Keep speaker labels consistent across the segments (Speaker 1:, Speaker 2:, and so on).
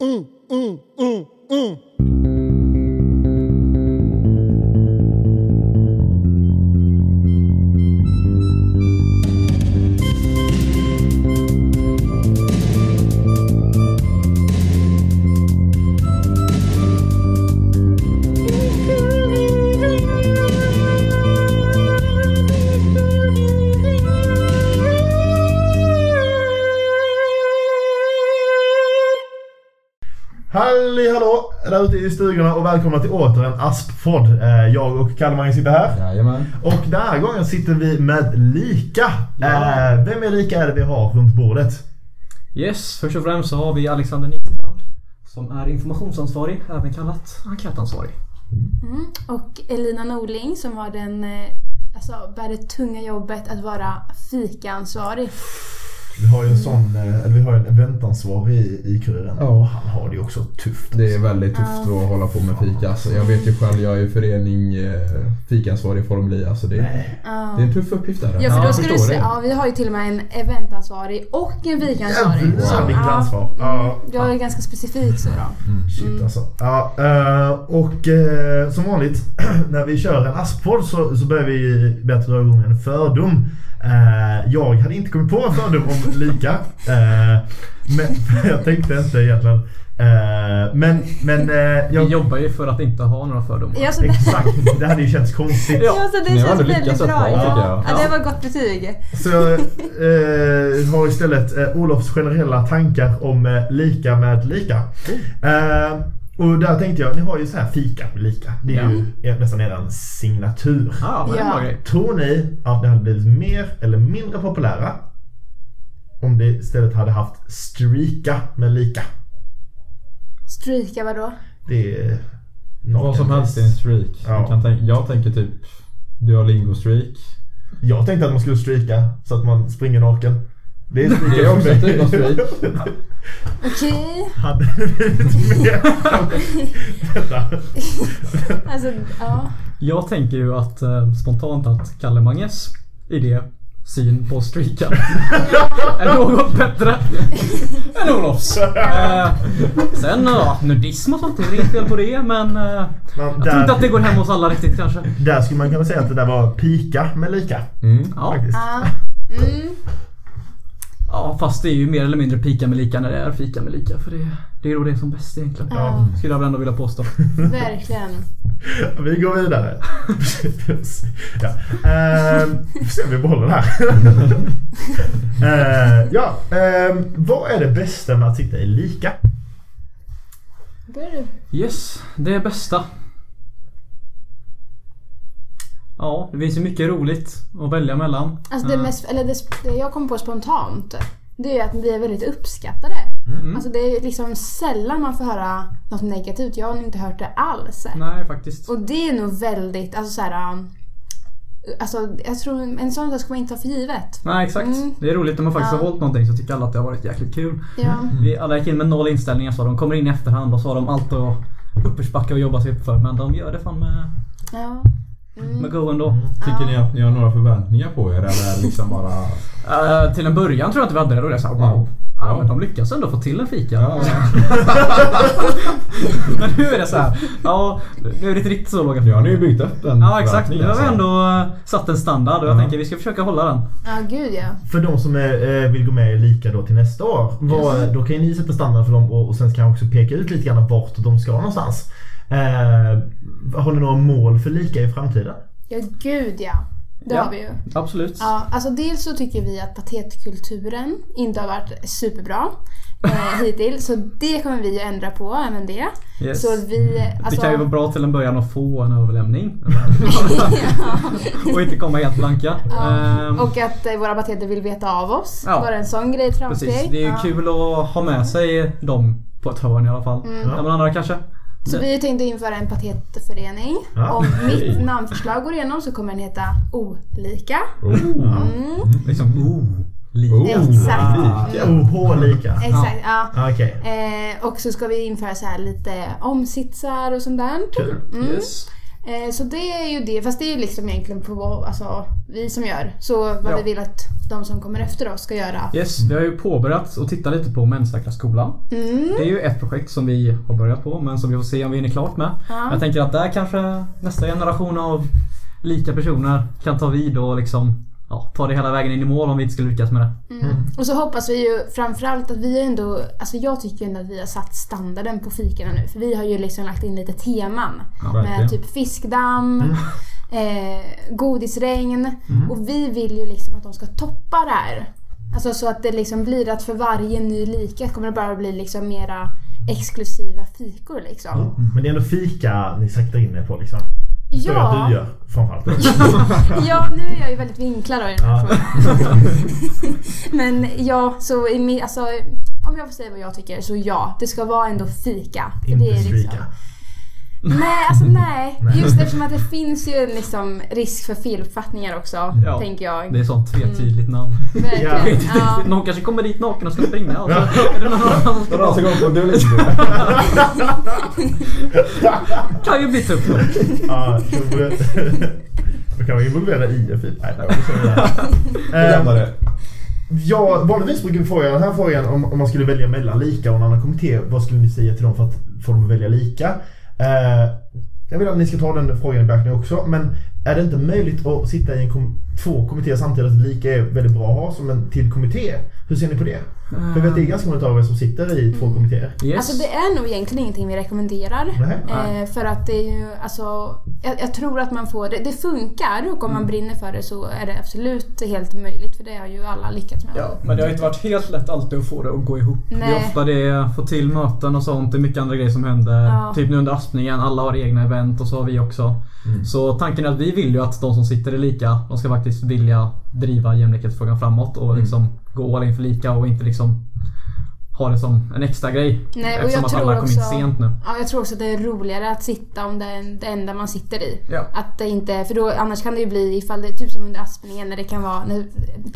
Speaker 1: Mm, mm, mm, mm.
Speaker 2: Halli hallå där ute i stugorna och välkomna till åter en Asppodd. Eh, Jag och Kalmar sitter här.
Speaker 3: Jajamän.
Speaker 2: Och den här gången sitter vi med Lika.
Speaker 4: Ja.
Speaker 2: Eh, Vem är Lika är det vi har runt bordet?
Speaker 4: Yes, först och främst så har vi Alexander Nistrand som är informationsansvarig, även kallat enkätansvarig.
Speaker 5: Mm. Och Elina Norling som var den, eh, alltså bär det tunga jobbet att vara fikaansvarig.
Speaker 2: Vi har ju en sån, eh, eller vi har ju en eventansvarig i, i kuriren.
Speaker 3: Ja.
Speaker 2: Han har det ju också tufft.
Speaker 3: Det är väldigt tufft att hålla på med fika. Alltså, jag vet ju själv, jag är i förening eh, fikaansvarig i Formli. Alltså, det, är-
Speaker 5: Ja.
Speaker 3: det är en tuff uppgift där.
Speaker 5: Ja för då
Speaker 3: jag
Speaker 5: skulle du
Speaker 3: förstår
Speaker 5: säga,
Speaker 3: det.
Speaker 5: ja vi har ju till och med en eventansvarig och en fikansvarig.
Speaker 2: Jävlar
Speaker 5: Så,
Speaker 2: vilket ansvar.
Speaker 5: Mm,
Speaker 2: Ja.
Speaker 5: jag är ganska specifik så då.
Speaker 3: Mm.
Speaker 2: Shit alltså. Ja, eh, och eh, som vanligt när vi kör en asppodd så, så börjar vi med att dra igång en fördom. Eh, jag hade inte kommit på en fördom om lika. Eh, men jag tänkte inte egentligen. Eh, men men eh,
Speaker 4: Vi
Speaker 2: jag,
Speaker 4: jobbar ju för att inte ha några fördomar.
Speaker 5: Ja så det,
Speaker 2: exakt, det hade ju känts konstigt.
Speaker 4: Ja.
Speaker 5: ja, så
Speaker 3: Ni
Speaker 5: det
Speaker 3: har
Speaker 5: känns
Speaker 3: ändå lyckats
Speaker 5: väldigt
Speaker 3: rätt
Speaker 5: bra.
Speaker 3: bra, tycker jag.
Speaker 5: Ja. Ja, det var gott betyg.
Speaker 2: Så jag eh, har istället eh, Olofs generella tankar om eh, lika med lika.
Speaker 3: Oh.
Speaker 2: Eh, och där tänkte jag, ni har ju så här fika med lika. Det är
Speaker 4: Ja.
Speaker 2: ju er- nästan eran signatur.
Speaker 4: Ah, men det var
Speaker 5: Ja.
Speaker 4: grej.
Speaker 2: Tror ni att ni hade blivit mer eller mindre populära om ni istället hade haft streaka med lika?
Speaker 5: Streaka vadå?
Speaker 2: Det är
Speaker 3: Vad som helst är en streak.
Speaker 2: Ja.
Speaker 3: Du kan tänka, jag tänker typ Duolingo-streak.
Speaker 2: Jag tänkte att man skulle streaka så att man springer naken. Det är streaka
Speaker 3: Det är också
Speaker 2: för mig.
Speaker 3: typ av streak.
Speaker 5: Okej,
Speaker 2: Hade det blivit mer? Vänta.
Speaker 5: alltså ja.
Speaker 4: Jag tänker ju att eh, spontant att Kalle Manges idé, syn på streaken, är något bättre än Olofs. Eh, sen, ja, nudism och sånt, det är inget fel på det men eh,
Speaker 2: Men
Speaker 4: jag tror inte att
Speaker 2: där,
Speaker 4: det går hem hos alla riktigt kanske.
Speaker 2: där skulle man kunna säga att det där var pika med lika.
Speaker 3: Mm.
Speaker 4: Ja,
Speaker 2: Faktiskt.
Speaker 5: ja. Mm.
Speaker 4: ja, fast det är ju mer eller mindre pika med lika när det är fika med lika för det, det är då det är som bäst egentligen.
Speaker 5: Ja,
Speaker 4: Skulle jag väl ändå vilja påstå.
Speaker 5: verkligen.
Speaker 2: Vi går vidare. ja. Ehm, vi får se om vi behåller det här. Ehm, ja, ehm, vad är det bästa med att sitta i lika?
Speaker 5: Börjar du?
Speaker 4: Yes, det är bästa. Ja, det finns ju mycket roligt att välja mellan.
Speaker 5: Alltså det,
Speaker 4: Eh,
Speaker 5: mest, eller det, det jag kom på spontant, det är att vi är väldigt uppskattade.
Speaker 4: Mm.
Speaker 5: Alltså det är liksom sällan man får höra något negativt. Jag har nog inte hört det alls.
Speaker 4: Nej, faktiskt.
Speaker 5: Och det är nog väldigt, alltså så här. um, Alltså jag tror en sån sak ska man inte ta för givet.
Speaker 4: Nej, exakt.
Speaker 5: Mm.
Speaker 4: Det är roligt när man faktiskt
Speaker 5: Ja.
Speaker 4: har hållit någonting så tycker alla att det har varit jäkligt kul.
Speaker 5: Ja,
Speaker 4: Vi alla gick in med noll inställningar så de kommer in i efterhand och så har de allt att uppförsbacka och jobba sig uppför. Men de gör det fan med,
Speaker 5: ja.
Speaker 4: med go ändå.
Speaker 3: Tycker ni att ni har några förväntningar på er eller liksom bara...
Speaker 4: Eh, till en början tror jag att vi hade det. Då det är såhär wow. Ja, men de lyckas ändå få till en fika.
Speaker 3: Ja.
Speaker 4: Men nu är det så här. Ja, nu är det inte riktigt så låga
Speaker 3: Nu har ni ju byggt upp en
Speaker 4: Ja exakt,
Speaker 3: förväntning,
Speaker 4: nu har vi
Speaker 3: alltså.
Speaker 4: ändå eh, satt en standard och jag
Speaker 3: Ja.
Speaker 4: tänker vi ska försöka hålla den.
Speaker 5: ja gud ja.
Speaker 2: För de som är, eh, vill gå med i lika då till nästa år. Vad, då kan ju ni sätta standard för dem och, och sen kan jag också peka ut lite grann vart de ska någonstans. Eh, har ni några mål för lika i framtiden?
Speaker 5: Ja gud ja. Det
Speaker 4: Ja.
Speaker 5: har vi ju.
Speaker 4: Absolut.
Speaker 5: Ja, alltså dels så tycker vi att patetkulturen inte har varit superbra eh, hittills. Så det kommer vi ju ändra på, även det.
Speaker 4: Yes.
Speaker 5: Så vi, alltså,
Speaker 4: Det kan ju vara bra till en början att få en överlämning.
Speaker 5: ja.
Speaker 4: och inte komma helt blanka. Ehm,
Speaker 5: Och att eh, våra pateter vill veta av oss.
Speaker 4: Ja.
Speaker 5: Bara en sån grej ett framsteg.
Speaker 4: Precis, det är ju
Speaker 5: ja.
Speaker 4: kul att ha med sig dem på ett hörn i alla fall.
Speaker 5: Mm.
Speaker 4: Ja, men andra kanske.
Speaker 5: Så vi tänkte införa en patetförening.
Speaker 2: Ja.
Speaker 5: Om mitt namnförslag går igenom så kommer den heta Olika.
Speaker 3: Oh.
Speaker 5: Mm.
Speaker 4: Liksom, oh, lite.
Speaker 3: Oh.
Speaker 5: Exakt. Mm.
Speaker 3: Lika.
Speaker 2: OH lika?
Speaker 5: Exakt, ja.
Speaker 2: Okej,
Speaker 5: Eh, och så ska vi införa så här lite omsitsar och sånt där.
Speaker 2: kul.
Speaker 5: Mm.
Speaker 4: Yes.
Speaker 5: Eh, Så det är ju det, fast det är ju liksom egentligen på alltså, vi som gör. Så vad
Speaker 4: Ja.
Speaker 5: vi vill att de som kommer efter oss ska göra.
Speaker 4: Yes, vi har ju påbörjat och tittat lite på Menssäkra
Speaker 5: Mm.
Speaker 4: Det är ju ett projekt som vi har börjat på men som vi får se om vi hinner klart med.
Speaker 5: Ja.
Speaker 4: Jag tänker att där kanske nästa generation av lika personer kan ta vid och liksom ja, ta det hela vägen in i mål om vi inte skulle lyckas med det.
Speaker 5: Mm. Och så hoppas vi ju framförallt att vi ändå, alltså jag tycker ändå att vi har satt standarden på fikarna nu. För vi har ju liksom lagt in lite teman. med typ fiskdamm, eh, godisregn. Och vi vill ju liksom att de ska toppa det här. Alltså så att det liksom blir att för varje ny lika kommer det bara bli liksom mera exklusiva fikor liksom.
Speaker 2: Men det är ändå fika ni siktar in er på liksom. Så
Speaker 5: Ja,
Speaker 2: jag du gör framförallt.
Speaker 5: ja, nu är jag ju väldigt vinklad då i den här
Speaker 2: Ja.
Speaker 5: frågan. Men ja, så i min, alltså, om jag får säga vad jag tycker så ja, det ska vara ändå fika. För det
Speaker 2: Inte
Speaker 5: är liksom,
Speaker 2: svika.
Speaker 5: Nej, alltså nej.
Speaker 2: Nej.
Speaker 5: Just eftersom att det finns ju en liksom risk för feluppfattningar också,
Speaker 4: Ja.
Speaker 5: tänker jag.
Speaker 4: Det är sånt tvetydigt namn.
Speaker 5: Verkligen. Mm. Ja.
Speaker 4: Någon kanske kommer dit naken och ska springa och så är det någon annan som ska
Speaker 3: Någon som
Speaker 4: vara-
Speaker 3: går på Duolingo.
Speaker 4: kan ju bli tufft. då.
Speaker 5: liksom.
Speaker 2: Ja, då borde- då kan man involvera IF i Nej, jag vill säga det. Eh,
Speaker 3: Grabbare.
Speaker 2: Ja, vanligtvis brukar vi fråga den här frågan om, om man skulle välja mellan lika och en annan kommitté. Vad skulle ni säga till dem för att få dem att välja lika? Eh, jag vill att ni ska ta den frågan i beaktning också. Men är det inte möjligt att sitta i en kom- två kommittéer samtidigt? Att lika är väldigt bra att ha som en till kommitté. Hur ser ni på det? För jag vet att det är ganska många av er som sitter i två kommittéer.
Speaker 4: Yes.
Speaker 5: Alltså det är nog egentligen ingenting vi rekommenderar.
Speaker 2: Nej.
Speaker 5: Eh, för att det är ju, alltså, jag, jag tror att man får det. Det funkar och om
Speaker 2: Mm.
Speaker 5: man brinner för det så är det absolut helt möjligt. För det har ju alla lyckats med.
Speaker 4: Ja, men det har inte varit helt lätt alltid att få det att gå ihop. Det
Speaker 5: Nej.
Speaker 4: är ofta det är få till möten och sånt. Det är mycket andra grejer som händer.
Speaker 5: Ja.
Speaker 4: Typ nu under aspningen, alla har egna event och så har vi också. Så tanken är att vi vill ju att de som sitter i lika, de ska faktiskt vilja driva jämlikhetsfrågan framåt och liksom gå all in för lika och inte liksom ha det som en extra grej.
Speaker 5: Nej, och
Speaker 4: Eftersom
Speaker 5: jag
Speaker 4: att
Speaker 5: tror
Speaker 4: alla kom in
Speaker 5: också-
Speaker 4: sent nu.
Speaker 5: Ja, jag tror också att det är roligare att sitta om det är en- det enda man sitter i.
Speaker 4: Ja.
Speaker 5: Att det inte, för då, annars kan det ju bli ifall det är typ som under aspningen när det kan vara när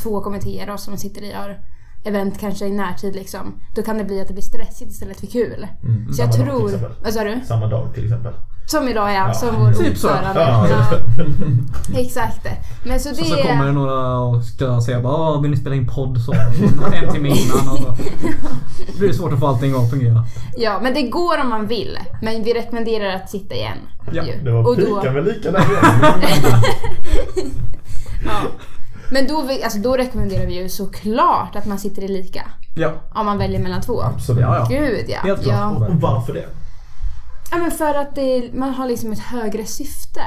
Speaker 5: två kommittéer och som sitter i har event kanske i närtid liksom. Då kan det bli att det blir stressigt istället för kul.
Speaker 4: Mm.
Speaker 5: så jag
Speaker 2: Samma dag, till
Speaker 5: tror...
Speaker 2: exempel.
Speaker 5: Vad sa du?
Speaker 2: Samma dag till exempel.
Speaker 5: Som idag ja,
Speaker 2: Ja.
Speaker 5: som vår
Speaker 4: Typ så.
Speaker 5: ordförande.
Speaker 2: Ja.
Speaker 5: Ja. Exakt. Men så det...
Speaker 4: Och så kommer det några och ska säga bara "Ah, vill ni spela in podd så? En timme innan och så. Då blir det svårt att få allting att fungera.
Speaker 5: Ja, men det går om man vill. Men vi rekommenderar att sitta igen.
Speaker 4: Ja,
Speaker 5: ju.
Speaker 2: Det var
Speaker 5: Och då-
Speaker 2: pikan väl lika där igen.
Speaker 5: Ja. Men då, vi- alltså, då rekommenderar vi ju såklart att man sitter i lika.
Speaker 4: Ja,
Speaker 5: Om man väljer mellan två.
Speaker 2: Absolut.
Speaker 4: ja, ja.
Speaker 5: Gud ja.
Speaker 4: Helt klart.
Speaker 5: ja.
Speaker 2: Och, och varför det?
Speaker 5: ja men för att det är, man har liksom ett högre syfte.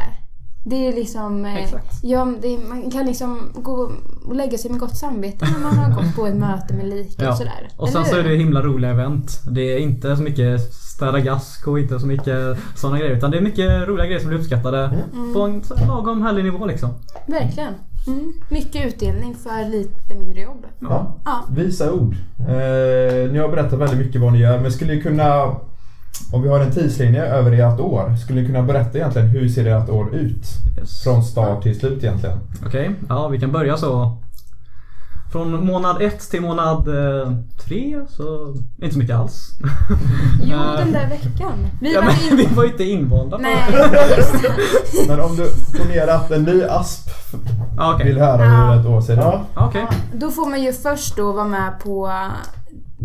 Speaker 5: Det är liksom... eh,
Speaker 4: Exakt.
Speaker 5: Ja, det är, man kan liksom gå och lägga sig med gott samvete när man har gått på ett möte med lika
Speaker 4: Ja.
Speaker 5: och sådär.
Speaker 4: Och sen
Speaker 5: Eller
Speaker 4: så är
Speaker 5: hur?
Speaker 4: det himla roliga event. Det är inte så mycket städa gask och inte så mycket sådana grejer. Utan det är mycket roliga grejer som blir uppskattade
Speaker 5: Mm.
Speaker 4: på en så här lagom härlig nivå liksom.
Speaker 5: Verkligen. Mm. Mycket utdelning för lite mindre jobb.
Speaker 3: Ja.
Speaker 5: Ja.
Speaker 3: Visa ord. Eh, ni har berättat väldigt mycket vad ni gör men skulle ni kunna om vi har en tidslinje över ert år, skulle ni kunna berätta egentligen hur ser ert år ut?
Speaker 4: Yes.
Speaker 3: Från start till slut egentligen.
Speaker 4: Okej, ja vi kan börja så. Från månad ett till månad eh, tre så inte så mycket alls.
Speaker 5: Jo,
Speaker 4: Eh,
Speaker 5: den där veckan. Vi
Speaker 4: ja,
Speaker 5: var
Speaker 4: men,
Speaker 5: ju...
Speaker 4: vi var ju inte invalda. på-
Speaker 5: Nej,
Speaker 3: Men om du ponera att en ny asp
Speaker 4: Ja, Okej.
Speaker 3: vill höra hur ett år ser ut.
Speaker 2: Ja.
Speaker 4: Ja, okej.
Speaker 5: då får man ju först då vara med på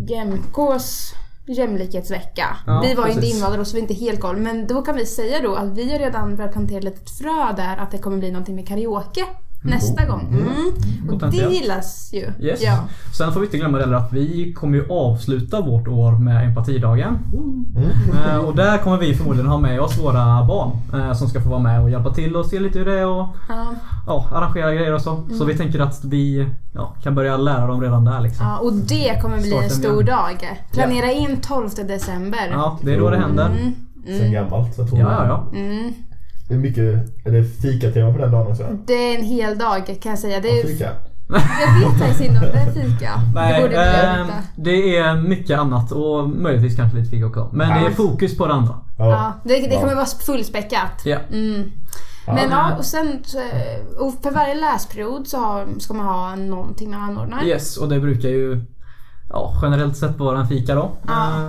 Speaker 5: JMKs jämlikhetsvecka.
Speaker 4: Ja,
Speaker 5: vi var ju inte
Speaker 4: precis.
Speaker 5: invandrare så vi är inte helt koll. Men då kan vi säga då att vi har redan börjat plantera lite frö där att det kommer bli någonting med karaoke nästa gång. Mm. Och det
Speaker 4: Potentiellt.
Speaker 5: gillas ju.
Speaker 4: Yes.
Speaker 5: Ja.
Speaker 4: Sen får vi inte glömma det heller att vi kommer ju avsluta vårt år med empatidagen. Eh, och där kommer vi förmodligen ha med oss våra barn eh, som ska få vara med och hjälpa till och se lite hur det är och
Speaker 5: Ja.
Speaker 4: ja, arrangera grejer och så.
Speaker 5: Mm.
Speaker 4: Så vi tänker att vi ja, kan börja lära dem redan där liksom.
Speaker 5: Ja, och det kommer bli en
Speaker 4: Starten
Speaker 5: stor
Speaker 4: igen.
Speaker 5: dag. Planera in 12 december.
Speaker 4: Ja, det är då det händer.
Speaker 5: Mm.
Speaker 2: Sen gammalt. Så jag tror
Speaker 4: Ja, ja, ja.
Speaker 5: Mm.
Speaker 2: Det är mycket, är det fikatema på den dagen också?
Speaker 5: Det är en hel dag kan jag säga. Det är
Speaker 2: Fika.
Speaker 5: Jag vet faktiskt inte om det är fika. det
Speaker 4: Nej,
Speaker 5: borde vi
Speaker 4: ehm,
Speaker 5: veta.
Speaker 4: det är mycket annat och möjligtvis kanske lite fika också. Men det är fokus på det andra.
Speaker 5: Ja, det, det
Speaker 2: Ja.
Speaker 5: kommer vara fullspäckat.
Speaker 4: Ja.
Speaker 5: Mm. Men ja, och sen så, och för varje läsperiod så har, ska man ha någonting man anordnar.
Speaker 4: Yes, och det brukar ju ja, generellt sett vara en fika då.
Speaker 5: Ja.
Speaker 4: Eh,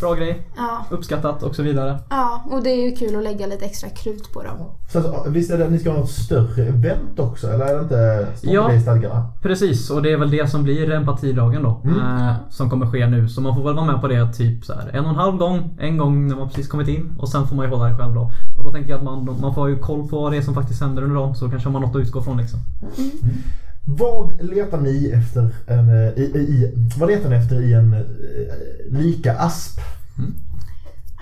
Speaker 4: Bra grej.
Speaker 5: Ja,
Speaker 4: Uppskattat och så vidare.
Speaker 5: ja, och det är ju kul att lägga lite extra krut på dem.
Speaker 2: Så att, visst är det ni ska ha något större event också? Eller är det inte står
Speaker 4: Ja.
Speaker 2: det i stadgarna?
Speaker 4: Precis, och det är väl det som blir empatidagen då. Eh, som kommer ske nu. Så man får väl vara med på det typ så här en och en halv gång. En gång när man precis kommit in och sen får man ju hålla det själv då. Och då tänker jag att man, man får ju koll på vad det är som faktiskt händer under dagen. Så kanske har man något att utgå från liksom.
Speaker 2: Vad letar ni efter en, eh, i, i, i, vad letar ni efter i en eh, lika asp?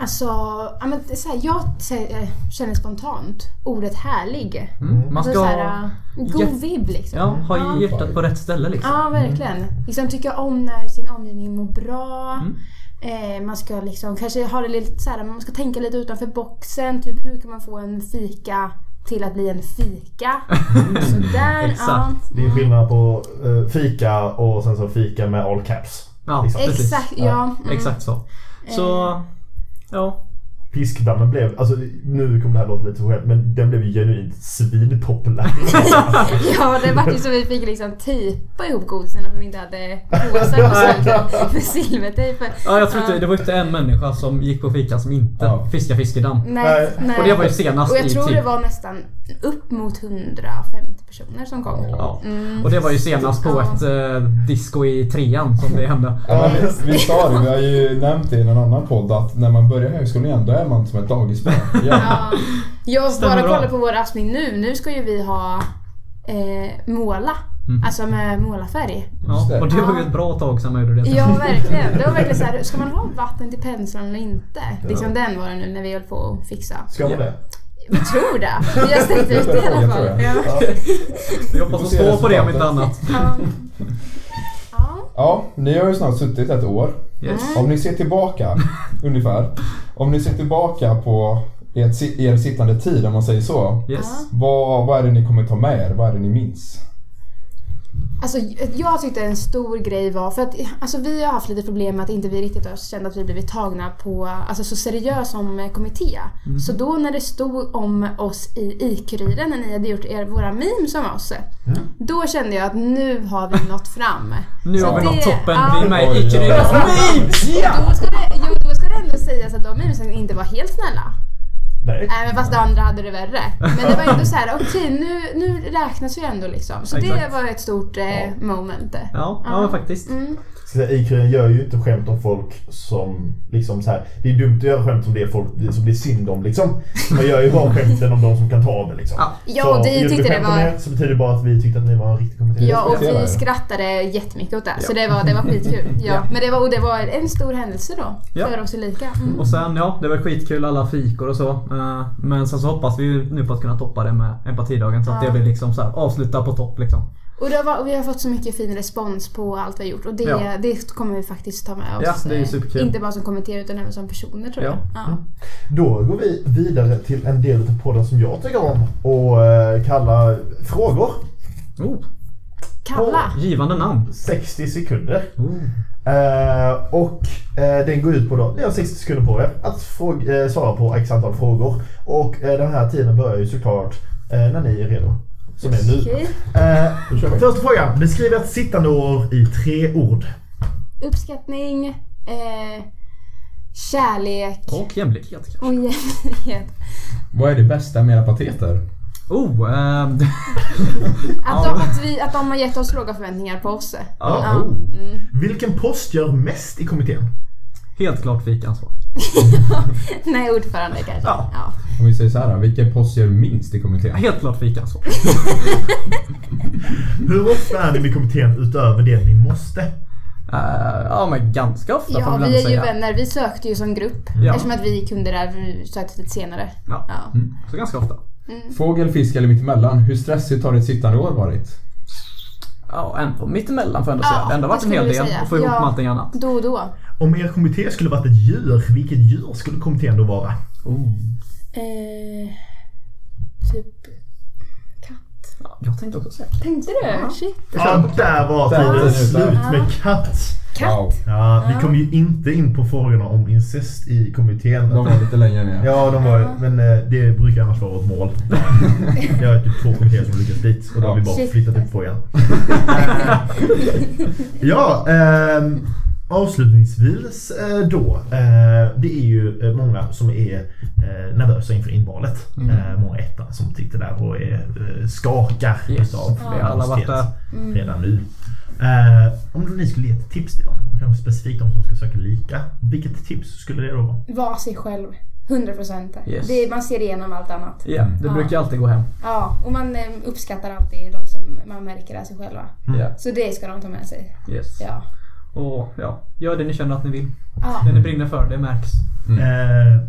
Speaker 5: Alltså, ja, men det är så här, jag se- eh, känner spontant ordet härlig.
Speaker 4: Mm. Man
Speaker 5: Alltså,
Speaker 4: ska
Speaker 5: så här, eh, god
Speaker 4: Jätte-
Speaker 5: vibb liksom.
Speaker 4: ja, ha hjärtat på rätt ställe liksom.
Speaker 5: Ja, verkligen. Liksom tycka om när sin omgivning mår bra.
Speaker 4: Mm.
Speaker 5: Eh, man ska liksom kanske ha det lite så här, man ska tänka lite utanför boxen. Typ hur kan man få en fika till att bli en fika? Sådär. ja.
Speaker 4: Exakt.
Speaker 2: Det är skillnad på eh, fika och sen så fika med all caps.
Speaker 4: Ja,
Speaker 2: Liksom.
Speaker 4: precis.
Speaker 5: Exakt, ja. Mm. Eh.
Speaker 4: Exakt så. Så, ja.
Speaker 2: Piskdammen blev, alltså nu kommer det här låta lite så själv, men den blev ju genuint svinpopulär.
Speaker 5: Ja, det var ju så vi fick liksom tejpa ihop godisarna för vi inte hade påsar med silver- med silvertejp.
Speaker 4: ja jag tror inte, det var inte en människa som gick på fika som inte
Speaker 3: Ja.
Speaker 4: fiskade fiskedamm.
Speaker 5: Nej,
Speaker 2: Nej.
Speaker 5: nej.
Speaker 4: Och det var ju senast
Speaker 5: Mm. Och jag
Speaker 4: i
Speaker 5: tror
Speaker 4: typ-
Speaker 5: det var nästan upp mot 150 personer som kom. Mm.
Speaker 4: Ja. Och det var ju senast på
Speaker 5: Ja.
Speaker 4: ett eh, disco i trean som det hände.
Speaker 3: Ja, men vi, vi sa det, vi har ju nämnt det i någon annan podd att när man börjar högskolan igen då är man som ett dagisbarn. Ja.
Speaker 5: Ja. Jag
Speaker 4: Stämmer
Speaker 5: bara
Speaker 4: bra.
Speaker 5: kollar på vår Aspling nu. Nu ska ju vi ha eh, måla.
Speaker 4: Mm.
Speaker 5: Alltså med målarfärg.
Speaker 3: Just
Speaker 4: Ja,
Speaker 3: det.
Speaker 4: och det var ju ett bra tag sedan man gjorde det.
Speaker 5: Ja, verkligen. Det var verkligen så här, ska man ha vatten till penseln eller inte? Liksom den var det nu när vi höll på att fixa.
Speaker 2: Ska man det?
Speaker 5: Jag tror det. Vi har stängt ut det i alla
Speaker 3: Jag
Speaker 5: fall.
Speaker 3: tror jag.
Speaker 5: Ja.
Speaker 4: Vi hoppas
Speaker 3: Vi
Speaker 4: att
Speaker 3: får se
Speaker 4: stå på det om inte
Speaker 3: resultatet.
Speaker 4: annat.
Speaker 5: Ja. Ja.
Speaker 3: ja, ni har ju snart suttit ett år.
Speaker 4: Yes.
Speaker 3: Om ni ser tillbaka, ungefär. Om ni ser tillbaka på ert, si- er sittande tid om man säger så.
Speaker 4: Yes.
Speaker 3: Vad, vad är det ni kommer ta med er? Vad är det ni minns?
Speaker 5: Alltså, jag tyckte en stor grej var, för att alltså, vi har haft lite problem med att inte vi riktigt har känt att vi blivit tagna på, alltså så seriöst som kommitté.
Speaker 4: Mm.
Speaker 5: Så då när det stod om oss i IQ-kuriren när ni hade gjort er, våra memes om oss. Då kände jag att nu har vi nått fram.
Speaker 4: Nu har vi
Speaker 5: Så
Speaker 4: nått
Speaker 5: det-
Speaker 4: toppen.
Speaker 5: ja.
Speaker 4: Vi är med
Speaker 3: Oj,
Speaker 4: i
Speaker 3: oj, oj.
Speaker 4: Icke-Ryggas
Speaker 5: Då ska det, jo, då ska det ändå sägas att de memesen inte var helt snälla.
Speaker 2: Nej.
Speaker 5: Även fast det andra hade det värre. Men det var ändå så här: okej nu, nu räknas vi ändå liksom. Så det
Speaker 4: Exakt.
Speaker 5: var ett stort eh, moment.
Speaker 4: Ja, ja men faktiskt.
Speaker 5: Mm.
Speaker 2: Ska jag säga, IQ gör ju inte skämt om folk som liksom så här. Det är dumt att göra skämt om det är folk som det är synd om liksom. Man gör ju bara skämten om de som kan ta det liksom.
Speaker 4: Ja.
Speaker 5: Ja,
Speaker 2: Så
Speaker 5: och det
Speaker 2: gjorde vi
Speaker 5: tyckte det
Speaker 2: skämt om
Speaker 5: var-
Speaker 2: Det, så betyder det bara att vi tyckte att ni var en riktig kommitté.
Speaker 5: Ja, och vi
Speaker 3: respekterar det.
Speaker 5: skrattade jättemycket åt det. Så det var, det var skitkul. Ja. Men det var, och det var en stor händelse då.
Speaker 4: Ja.
Speaker 5: För oss i lika. Mm.
Speaker 4: Och sen ja, det var skitkul alla fikor och så. Eh, Men sen så hoppas vi ju nu på att kunna toppa det med empatidagen så att
Speaker 5: Ja.
Speaker 4: det blir liksom så här avsluta på topp liksom.
Speaker 5: Och, det var, och vi har fått så mycket fin respons på allt vi har gjort. Och det,
Speaker 4: Ja.
Speaker 5: det kommer vi faktiskt ta med oss.
Speaker 4: Ja, det är ju
Speaker 5: eh,
Speaker 4: superkul.
Speaker 5: Inte bara som kommenterare utan även som personer tror jag.
Speaker 4: Ja. Mm.
Speaker 5: Ja.
Speaker 2: Då går vi vidare till en del av podden som jag tycker om och eh, kallar frågor.
Speaker 4: Oh,
Speaker 5: Kalla.
Speaker 4: givande namn.
Speaker 2: 60 sekunder.
Speaker 4: Oh.
Speaker 2: Eh, och eh, den går ut på då, ni har 60 sekunder på er att fråga, eh, svara på x antal frågor. Och eh, den här tiden börjar ju såklart eh, när ni är redo. Som är nu.
Speaker 5: Okej.
Speaker 2: Eh, första frågan. Beskriv ett sittande år i tre ord.
Speaker 5: Uppskattning. Eh, kärlek.
Speaker 4: Och jämlikhet kanske.
Speaker 5: Och jämlikhet.
Speaker 3: Vad är det bästa med era pateter?
Speaker 4: Oh, ehm,
Speaker 5: Att de, att, vi, att de har gett oss låga förväntningar på oss.
Speaker 4: Ja. Oh.
Speaker 5: Ja. Mm.
Speaker 2: Vilken post gör mest i kommittén?
Speaker 4: helt klart fikansvar.
Speaker 5: Nej, ordförande kanske.
Speaker 4: Ja.
Speaker 5: Ja.
Speaker 3: Om vi säger så här, vilken post gör minst i kommittén?
Speaker 4: Helt klart fikansvar.
Speaker 2: Hur ofta är ni med kommittén utöver det ni måste?
Speaker 4: Eh, ja men ganska ofta får
Speaker 5: Ja,
Speaker 4: man väl
Speaker 5: vi
Speaker 4: ändå
Speaker 5: är ju
Speaker 4: säga.
Speaker 5: vänner. Vi sökte ju som grupp.
Speaker 4: Ja. Mm.
Speaker 5: Eftersom att vi kunde det här, vi sökte lite senare.
Speaker 4: Ja.
Speaker 5: Ja.
Speaker 4: Så ganska ofta.
Speaker 3: Fågel, fisk eller mittemellan? Hur stressigt har ditt sittande år varit?
Speaker 4: Ja, ändå mittemellan får jag ändå
Speaker 5: Ja,
Speaker 4: säga. Det har ändå
Speaker 5: det
Speaker 4: varit en hel
Speaker 5: skulle jag
Speaker 4: del
Speaker 5: säga.
Speaker 4: att få ihop
Speaker 5: Ja.
Speaker 4: med allting annat.
Speaker 5: Då och då.
Speaker 2: Om er kommitté skulle varit ett djur, vilket djur skulle kommittén då vara?
Speaker 4: Oh.
Speaker 5: Eh, typ katt.
Speaker 4: Ja, jag tänkte också säga
Speaker 5: Tänkte du? Shit.
Speaker 2: Ja, där var
Speaker 3: Där var
Speaker 2: tiden
Speaker 3: det.
Speaker 2: slut med katt.
Speaker 5: Katt.
Speaker 3: Wow,
Speaker 2: Ja, vi kom ju inte in på frågorna om incest i kommittén.
Speaker 3: de var lite längre ner.
Speaker 2: Ja, de var ju, men eh, det brukar annars vara vårt mål. Det har ju typ två kommittéer som lyckats dit och då har vi bara
Speaker 5: Shit.
Speaker 2: flyttat upp frågan. ja, ehm, Avslutningsvis eh, då. eh, Det är ju eh, många som är eh, nervösa inför invalet.
Speaker 4: Mm.
Speaker 2: Eh, Många ettan som sitter där och är, eh, skakar
Speaker 4: Yes,
Speaker 2: utav
Speaker 4: vi har alla varit där.
Speaker 5: Mm.
Speaker 2: redan nu. Eh, Om ni skulle ge ett tips till dem, och kanske specifikt de som ska söka lika. Vilket tips skulle det då vara?
Speaker 5: Var sig själv. 100 procent.
Speaker 4: Yes.
Speaker 5: Man ser igenom allt annat.
Speaker 4: Ja, det
Speaker 5: Ja.
Speaker 4: brukar alltid gå hem.
Speaker 5: Ja, och man eh, uppskattar alltid de som man märker är sig själva.
Speaker 4: Ja,
Speaker 5: Så det ska de ta med sig.
Speaker 4: yes.
Speaker 5: Ja.
Speaker 4: Mm. Och ja, gör det ni känner att ni vill.
Speaker 5: ja.
Speaker 4: Det ni brinner för, det märks.
Speaker 2: Eh,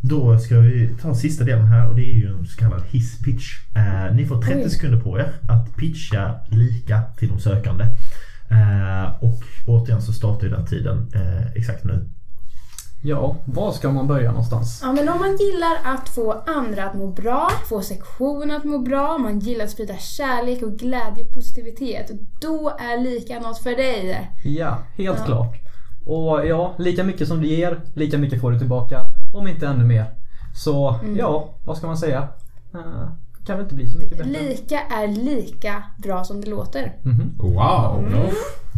Speaker 2: Då ska vi ta sista delen här och det är ju en så kallad hisspitch. Eh, Ni får 30
Speaker 5: Oj.
Speaker 2: sekunder på er att pitcha lika till de sökande. Eh, Och återigen så startar ju den tiden eh, exakt nu.
Speaker 4: Ja, var ska man börja någonstans?
Speaker 5: Ja men om man gillar att få andra att må bra, få sektionen att må bra, om man gillar att sprida kärlek och glädje och positivitet. Då är lika något för dig.
Speaker 4: Ja, helt
Speaker 5: Ja.
Speaker 4: klart. Och ja, lika mycket som du ger, lika mycket får du tillbaka. Om inte ännu mer. Så
Speaker 5: Mm.
Speaker 4: ja, vad ska man säga? Eh, kan väl inte bli så mycket bättre.
Speaker 5: Lika är lika bra som det låter.
Speaker 4: Mhm.
Speaker 3: Wow!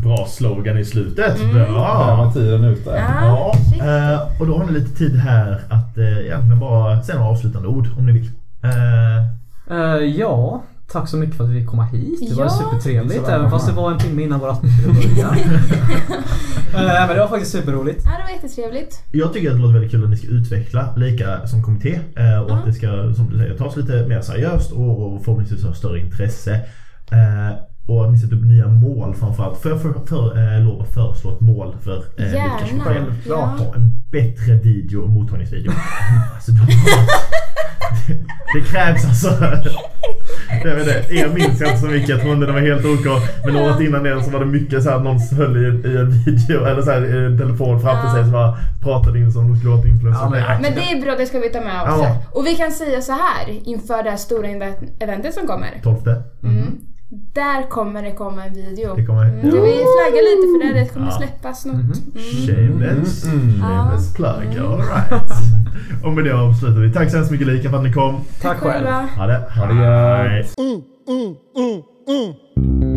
Speaker 2: Bra slogan i slutet.
Speaker 3: Där
Speaker 2: Mm. Bra!
Speaker 3: var tiden ute.
Speaker 2: Ja,
Speaker 5: Ah, shit.
Speaker 2: eh, och då har ni lite tid här att eh, egentligen bara säga några avslutande ord om ni vill. Eh,
Speaker 4: Eh, ja, tack så mycket för att vi fick komma hit. Det var
Speaker 5: Ja.
Speaker 4: supertrevligt.
Speaker 3: Så
Speaker 4: Även fast det var en timme innan vårt avsnitt började. Eh, men det var faktiskt superroligt.
Speaker 5: Ja, Ah, det var jättetrevligt.
Speaker 2: Jag tycker att det låter väldigt kul att ni ska utveckla lika som kommitté eh, och att det ska, som du säger, tas lite mer seriöst och, och förhoppningsvis ha större intresse. Eh, Och att ni sätter upp nya mål framförallt. Får jag för, för, eh, lov att föreslå ett mål för eh,
Speaker 5: Gärna.
Speaker 2: Lika 25?
Speaker 5: Ja.
Speaker 2: Ta en bättre video och mottagningsvideo. alltså, de, det, det krävs alltså. Jag vet inte, er minns jag inte så mycket. Jag tror inte den var helt OK. Men året innan den så var det mycket så här att någon höll i, i en video eller så här, i en telefon framför
Speaker 5: Ja.
Speaker 2: sig som bara pratade in som de skulle låta influencer.
Speaker 4: Ja, men-
Speaker 2: Nej,
Speaker 5: Men det är bra, det ska vi ta med också.
Speaker 2: Ja.
Speaker 5: Och vi kan säga så här inför det här stora inve- eventet som kommer.
Speaker 2: 12.
Speaker 5: Mm. Där kommer det komma en video.
Speaker 2: Det kommer.
Speaker 5: Mm, vi flaggar lite för det, här, det kommer
Speaker 2: Ja. Mm-hmm.
Speaker 5: släppas Mm. något.
Speaker 2: Shameless.
Speaker 3: Mm.
Speaker 2: Shameless plug. Alright. Och med det avslutar vi. Tack så hemskt mycket Lika för att ni kom.
Speaker 4: Tack själv.
Speaker 5: själva.
Speaker 2: Ha det.
Speaker 3: Ha det gött.
Speaker 2: Hej.
Speaker 1: mm, mm, mm.